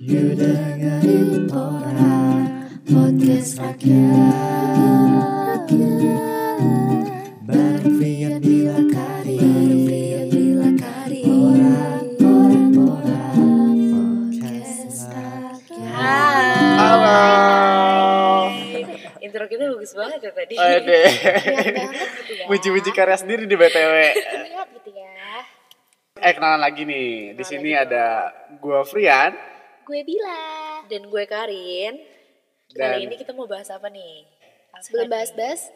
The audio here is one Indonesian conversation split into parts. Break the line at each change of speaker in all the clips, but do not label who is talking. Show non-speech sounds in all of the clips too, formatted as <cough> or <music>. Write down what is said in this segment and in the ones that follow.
You dengerin Pora Podcast Rakyat Bareng Fian Bila Kari Bareng Fian Bila Kari Pora Pora Pora Podcast Rakyat
Halo.
Intro kita bagus banget ya tadi.
Ade.
ya.
Muji-muji karya sendiri di BTW.
Lihat gitu ya.
Eh kenalan lagi nih. Di sini ada gua Frian
Gue Bila.
Dan gue Karin.
Dan-
Kali ini kita mau bahas apa nih?
Sebelum bahas-bahas,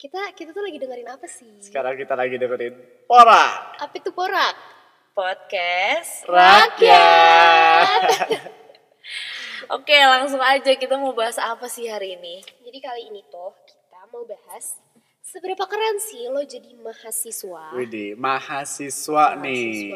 kita kita tuh lagi dengerin apa sih?
sekarang kita lagi dengerin Pora
Apa itu porak? ya.
Podcast.
ya. Rakyat.
Oke, langsung aja kita mau bahas apa sih hari ini?
Jadi kali ini tuh kita mau bahas seberapa keren sih lo jadi mahasiswa.
<laughs> Widih, mahasiswa
gitu.
nih.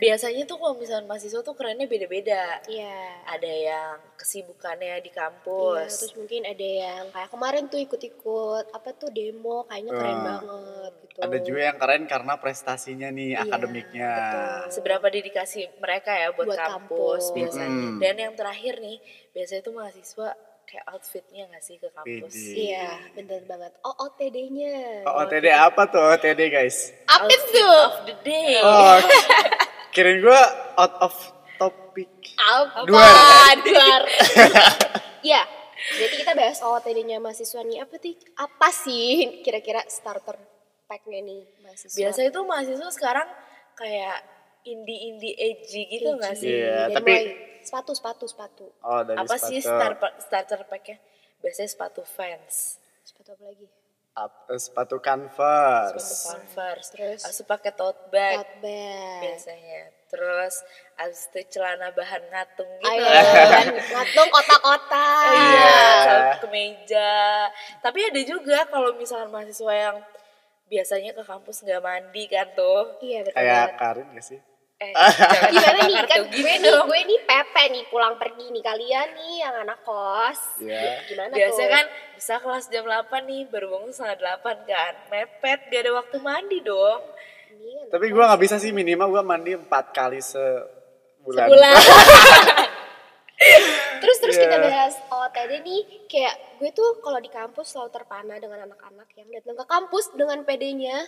Biasanya tuh kalau misalnya mahasiswa tuh kerennya beda-beda.
Iya.
Ada yang kesibukannya di
Iya,
kampus.
terus mungkin ada yang kayak kemarin tuh ikut-ikut apa tuh demo kayaknya keren
Ah.
banget gitu.
Ada juga yang keren karena prestasinya nih
Iya,
akademiknya.
betul.
seberapa dedikasi mereka ya buat,
Buat
kampus,
kampus.
biasanya.
Mm-mm.
Dan yang terakhir nih, biasanya tuh mahasiswa kayak outfitnya nggak sih ke kampus?
Widih.
Iya, bener banget. OOTD-nya.
Oh, OTD apa tuh OTD guys?
Apa
Outfit
tuh?
of the day.
Oh, kirain gua out of topic.
Apa?
Duar.
Duar. ya, berarti kita bahas OOTD-nya mahasiswa nih. Apa sih? Apa sih kira-kira starter pack-nya nih mahasiswa?
Biasanya tuh mahasiswa sekarang kayak indie-indie edgy gitu nggak sih?
Iya,
Dan
tapi-
mulai sepatu, sepatu, sepatu.
Oh, dari
Apa sih
sepatu.
star- starter pack-nya? Biasanya sepatu fans,
Sepatu apa lagi?
Ap- eh, sepatu
sepatu
Converse.
converse,
Terus?
terus pakai tote bag
Tote bag.
biasanya. Terus abis itu celana bahan ngatung gitu.
Ayo, ngatung kotak-kotak.
<laughs> Iya,
Iya.
celana kemeja. Tapi ada juga kalau misalkan mahasiswa yang biasanya ke kampus nggak mandi kan tuh.
Iya, betul
Kayak
banget.
Karin gak sih?
<laughs>
Eh, jangan
Gimana nih
kartu
kan
gini
gue nih,
dong.
gue nih pepe nih pulang pergi nih kalian nih yang anak kos.
Iya.
Gimana
Biasanya
tuh?
kan bisa kelas jam 8 nih, baru bangun setengah 8 kan. Mepet, gak ada waktu mandi dong.
Ini anak
Tapi gua nggak bisa sih minimal gua mandi empat kali sebulan.
Sebulan.
Terus terus kita
Iya.
bahas OOTD nih kayak gue tuh kalau di kampus selalu terpana dengan anak-anak yang datang ke kampus dengan PD-nya.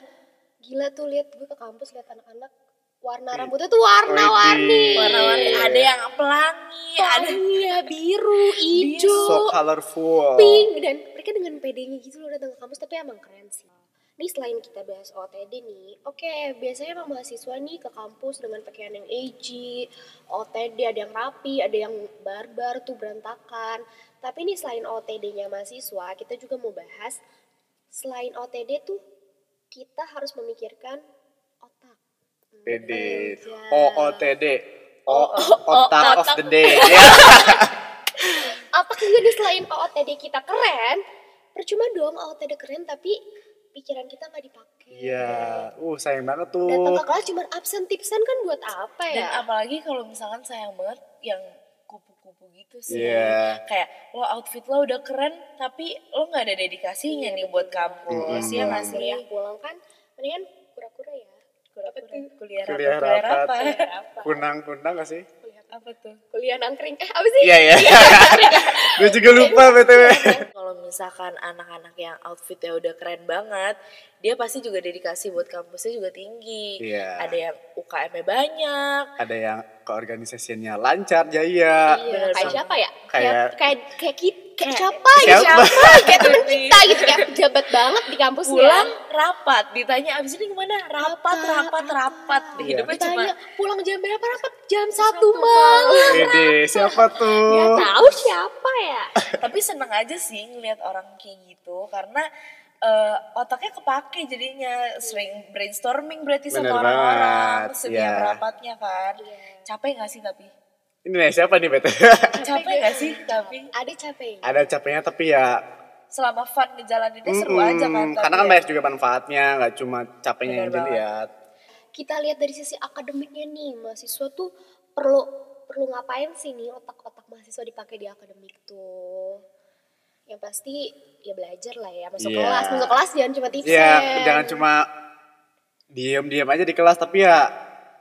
Gila tuh lihat gue ke kampus lihat anak-anak warna rambutnya tuh
Widih.
warna-warni.
Warna-warni ada yang pelangi, ada
Iya, biru,
So
hijau,
colorful.
pink dan mereka dengan PD-nya gitu loh datang ke kampus tapi emang keren sih. Nih selain kita bahas OOTD nih, oke biasanya emang mahasiswa nih ke kampus dengan pakaian yang edgy, OOTD ada yang rapi, ada yang barbar tuh berantakan. Tapi nih selain OOTD-nya mahasiswa, kita juga mau bahas selain OOTD tuh kita harus memikirkan otak.
PD.
Iya.
OOTD. O otak of the day.
Otak juga nih selain OOTD kita keren, percuma dong OOTD keren tapi pikiran kita nggak dipakai.
Iya. Uh, sayang banget
Datang
tuh.
ke kelas cuma absen tipsen kan buat apa
Iya.
ya?
Dan apalagi kalau misalkan sayang banget yang kupu-kupu gitu sih.
Iya.
Kayak lo outfit lo udah keren tapi lo nggak ada dedikasinya nih buat kampus.
Mm-mm.
Iya nggak sih ya?
Mending pulang kan, mendingan kura-kura ya.
Kura-kura. Kuliah rapat.
Kuliah
Kuliah
rapat.
rapat. Iya.
Kunang-kunang gak sih?
Apa tuh?
Kuliah nangkring, eh apa sih? <laughs>
Iya, iya. Gue juga lupa BTW.
Kalau misalkan anak-anak yang outfitnya udah keren banget, dia pasti juga dedikasi buat kampusnya juga tinggi.
Iya.
Ada yang UKM-nya banyak.
Ada yang keorganisasiannya lancar, jaya.
Iya,
Bener
kayak
banget.
siapa ya?
ah. Kayak-
kayak kayak kayak, kita, kayak siapa gitu.
Siapa?
Kayak temen kita gitu, kayak pejabat banget di kampus
Iya. Pulang
ya.
rapat, ditanya abis ini kemana? Rapat, rapat, rapat.
Iya.
Hidupnya cuma
Ditanya, pulang jam berapa rapat? Jam satu malam.
Wede, siapa
Gak
tuh?
tahu siapa ya.
tapi seneng aja sih ngelihat orang kayak gitu karena eh, otaknya kepake jadinya sering brainstorming berarti
Bener
sama orang-orang
banget,
setiap
iya.
rapatnya kan capek gak sih tapi
Ini nih, siapa nih BTW?
<laughs> capek gak sih tapi
Ada capek.
Ada capeknya tapi ya
selama fun ngejalaninnya seru aja kan
Mm-mm,
tapi
Karena kan
ya.
banyak juga manfaatnya, nggak cuma capeknya yang
Benar
ya.
banget.
dilihat.
Kita lihat dari sisi akademiknya nih, mahasiswa tuh perlu perlu ngapain sih nih otak-otak mahasiswa dipakai di akademik tuh? Yang pasti ya belajar lah ya, masuk
Iya.
kelas, masuk kelas jangan
Iya.
cuma tipsen.
Iya, jangan cuma diem-diem aja di kelas, tapi ya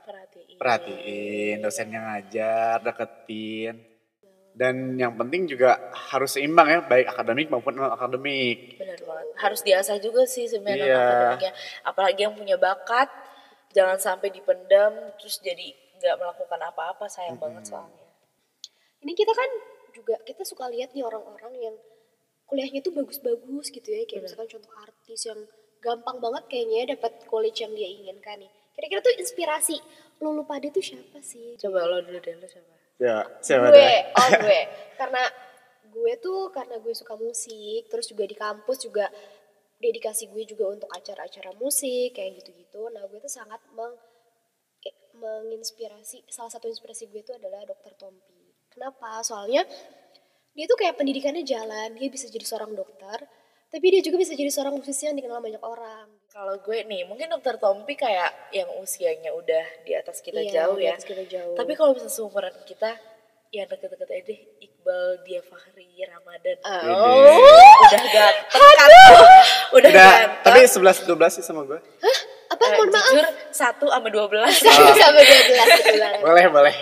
perhatiin
perhatiin.
perhatiin dosennya ngajar deketin dan yang penting juga harus seimbang ya baik akademik maupun non akademik
Benar banget. Harus diasah juga sih sebenarnya
Iya.
akademiknya. Apalagi yang punya bakat, jangan sampai dipendam terus jadi nggak melakukan apa-apa. Sayang banget soalnya.
Ini kita kan juga kita suka lihat nih orang-orang yang kuliahnya tuh bagus-bagus gitu ya, kayak misalkan contoh artis yang gampang banget kayaknya dapat college yang dia inginkan nih. Kira-kira tuh inspirasi lu lupa dia tuh siapa sih?
Coba lo dulu deh lo siapa?
ya siapa
gue,
deh?
oh gue.
<laughs>
Karena gue tuh karena gue suka musik, terus juga di kampus juga dedikasi gue juga untuk acara-acara musik kayak gitu-gitu. Nah, gue tuh sangat meng eh, menginspirasi salah satu inspirasi gue tuh adalah dokter Tompi. Kenapa? Soalnya dia tuh kayak pendidikannya jalan, dia bisa jadi seorang dokter, tapi dia juga bisa jadi seorang musisi yang dikenal banyak orang.
Kalau gue nih, mungkin dokter Tompi kayak yang usianya udah di atas kita
Iya,
jauh
di
ya.
atas Kita jauh.
Tapi kalau bisa seumuran kita, ya deket-deket aja deh. Iqbal, Dia Fahri, Ramadan.
Eh, Ah,
Wih,
oh.
Udah ganteng kan tuh. Udah,
Udah,
ganteng.
tapi 11 12 sih sama gue.
apa
Eh,
mohon maaf?
jujur, satu sama dua belas.
<laughs> Sampai 12 gitu banget.
Boleh, boleh.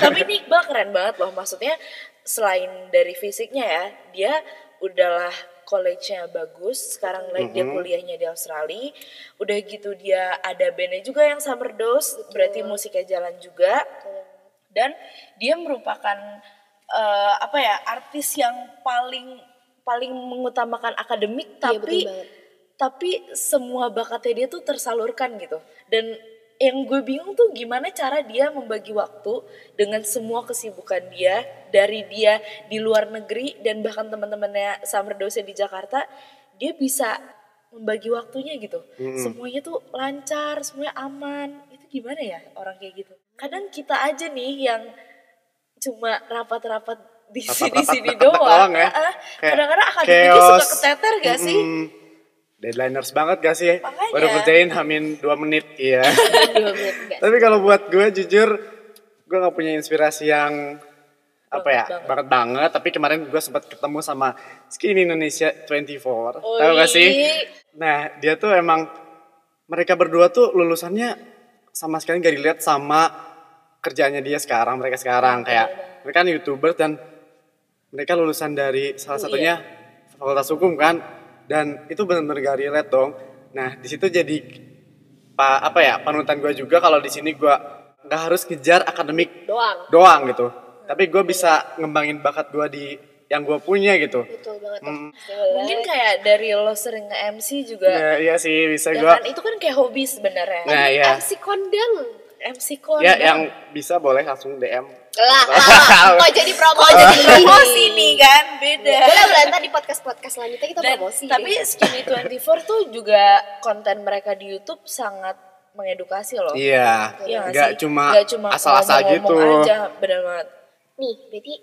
Tapi ini Iqbal keren banget loh. Maksudnya selain dari fisiknya ya, dia udahlah college-nya bagus. Sekarang lagi dia kuliahnya di Australia. Udah gitu dia ada bandnya juga yang Summer Dose. Berarti
Iya.
musiknya jalan juga. Dan dia merupakan eh, apa ya artis yang paling paling mengutamakan akademik
Iya, betul
tapi
banget.
tapi semua bakatnya dia tuh tersalurkan gitu dan yang gue bingung tuh gimana cara dia membagi waktu dengan semua kesibukan dia dari dia di luar negeri dan bahkan teman-temannya summer dose di Jakarta dia bisa membagi waktunya gitu semuanya tuh lancar semuanya aman itu gimana ya orang kayak gitu kadang kita aja nih yang cuma rapat-rapat di
<laughs>
sini
Rapat-rapat
sini
deket-deket
doang
doang ya.
Ah, ah.
Kayak
kadang-kadang akademiknya suka
chaos.
keteter gak sih
Mm-mm. Deadlineers banget gak sih?
Makanya.
Baru kerjain hamin 2 menit,
<laughs>
iya.
Dua menit, guys.
Tapi kalau buat gue jujur, gue nggak punya inspirasi yang apa ya
Banget banget.
banget banget. Tapi kemarin gue sempat ketemu sama Skin Indonesia 24,
Oi.
tahu gak sih?
iya.
Nah dia tuh emang mereka berdua tuh lulusannya sama sekali gak dilihat sama kerjaannya dia sekarang mereka sekarang kayak mereka kan youtuber dan mereka lulusan dari salah
Oh,
satunya fakultas hukum kan dan itu benar-benar gak relate dong nah di situ jadi pa- apa ya panutan gue juga kalau di sini gue nggak harus ngejar akademik
doang.
doang gitu tapi gue bisa ngembangin bakat gue di yang gue punya gitu
Betul banget.
Hmm.
Mungkin kayak dari lo sering nge-MC juga.
ya, iya sih bisa
Ya
gue
kan itu kan kayak hobi sebenarnya.
nah ya
MC kondang.
MC kon.
Ya, yang bisa boleh langsung DM.
Lah, oh jadi promosi.
<laughs>
jadi promosi nih kan, beda.
Boleh boleh ntar di podcast podcast selanjutnya Iya. kita
Dan-
promosi.
tapi
deh.
Skinny 24 tuh juga konten mereka di YouTube sangat mengedukasi loh.
Iya,
Iya nggak
nggak
sih?
cuma
Nggak
asal-asal gitu.
ngomong-ngomong aja, bener banget.
nih berarti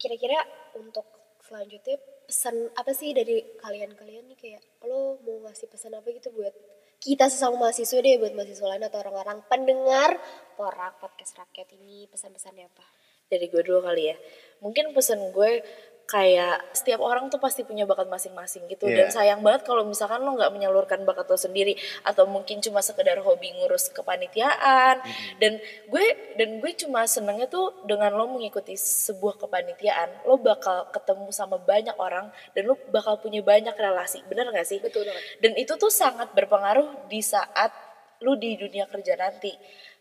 kira-kira untuk selanjutnya pesan apa sih dari kalian-kalian nih kayak lo mau ngasih pesan apa gitu buat kita sesama mahasiswa deh buat mahasiswa lain atau orang-orang pendengar porak podcast rakyat ini pesan-pesannya apa?
dari gue dulu kali ya. Mungkin pesan gue kayak setiap orang tuh pasti punya bakat masing-masing gitu
Iya.
dan sayang banget kalau misalkan lo nggak menyalurkan bakat lo sendiri atau mungkin cuma sekedar hobi ngurus kepanitiaan dan gue dan gue cuma senengnya tuh dengan lo mengikuti sebuah kepanitiaan lo bakal ketemu sama banyak orang dan lo bakal punya banyak relasi bener gak sih
Betul banget.
dan itu tuh sangat berpengaruh di saat lu di dunia kerja nanti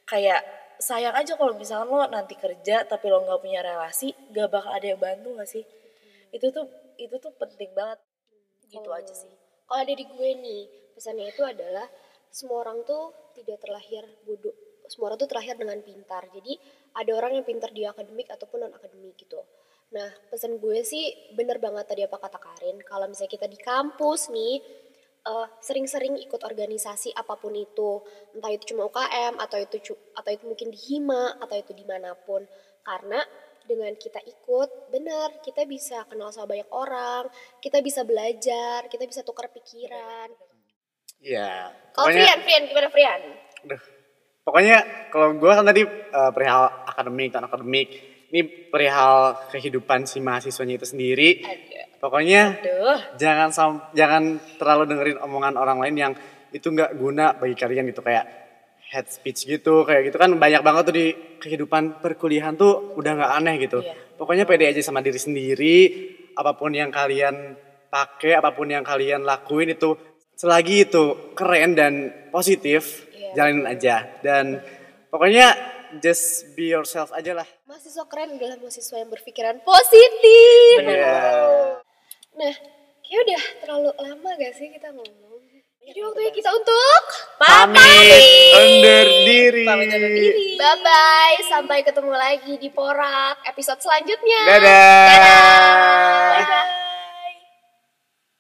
kayak sayang aja kalau misalnya lo nanti kerja tapi lo nggak punya relasi gak bakal ada yang bantu gak sih itu tuh itu tuh penting banget gitu
Kalau-
aja sih
Kalau dari gue nih, pesannya itu adalah semua orang tuh tidak terlahir bodoh. Semua orang tuh terlahir dengan pintar. Jadi ada orang yang pintar di akademik ataupun non akademik gitu. Nah, pesan gue sih bener banget tadi apa kata Karin. Kalau misalnya kita di kampus nih, eh, sering-sering ikut organisasi apapun itu, entah itu cuma UKM atau itu cu- atau itu mungkin di hima atau itu dimanapun. Karena dengan kita ikut, bener kita bisa kenal sama banyak orang, kita bisa belajar, kita bisa tukar pikiran.
Iya.
Kalau
Pokoknya,
Frian, Frian gimana Frian?
aduh. pokoknya kalau gue kan tadi eh, perihal akademik, non akademik. Ini perihal kehidupan si mahasiswanya itu sendiri. Pokoknya
Duh,
jangan sam- jangan terlalu dengerin omongan orang lain yang itu nggak guna bagi kalian gitu kayak head speech gitu kayak gitu kan banyak banget tuh di kehidupan perkuliahan tuh udah nggak aneh gitu
Iya.
pokoknya pede aja sama diri sendiri apapun yang kalian pakai apapun yang kalian lakuin itu selagi itu keren dan positif
Iya.
jalanin aja dan pokoknya just be yourself aja lah
Mahasiswa keren adalah mahasiswa yang berpikiran positif.
Bener.
Iya.
Nah, kayaknya udah terlalu lama gak sih kita ngomong? Jadi waktunya kita untuk
pamit undur diri
Pamit undur diri.
bye-bye. Sampai ketemu lagi di Porak episode selanjutnya.
dadah,
Dadah.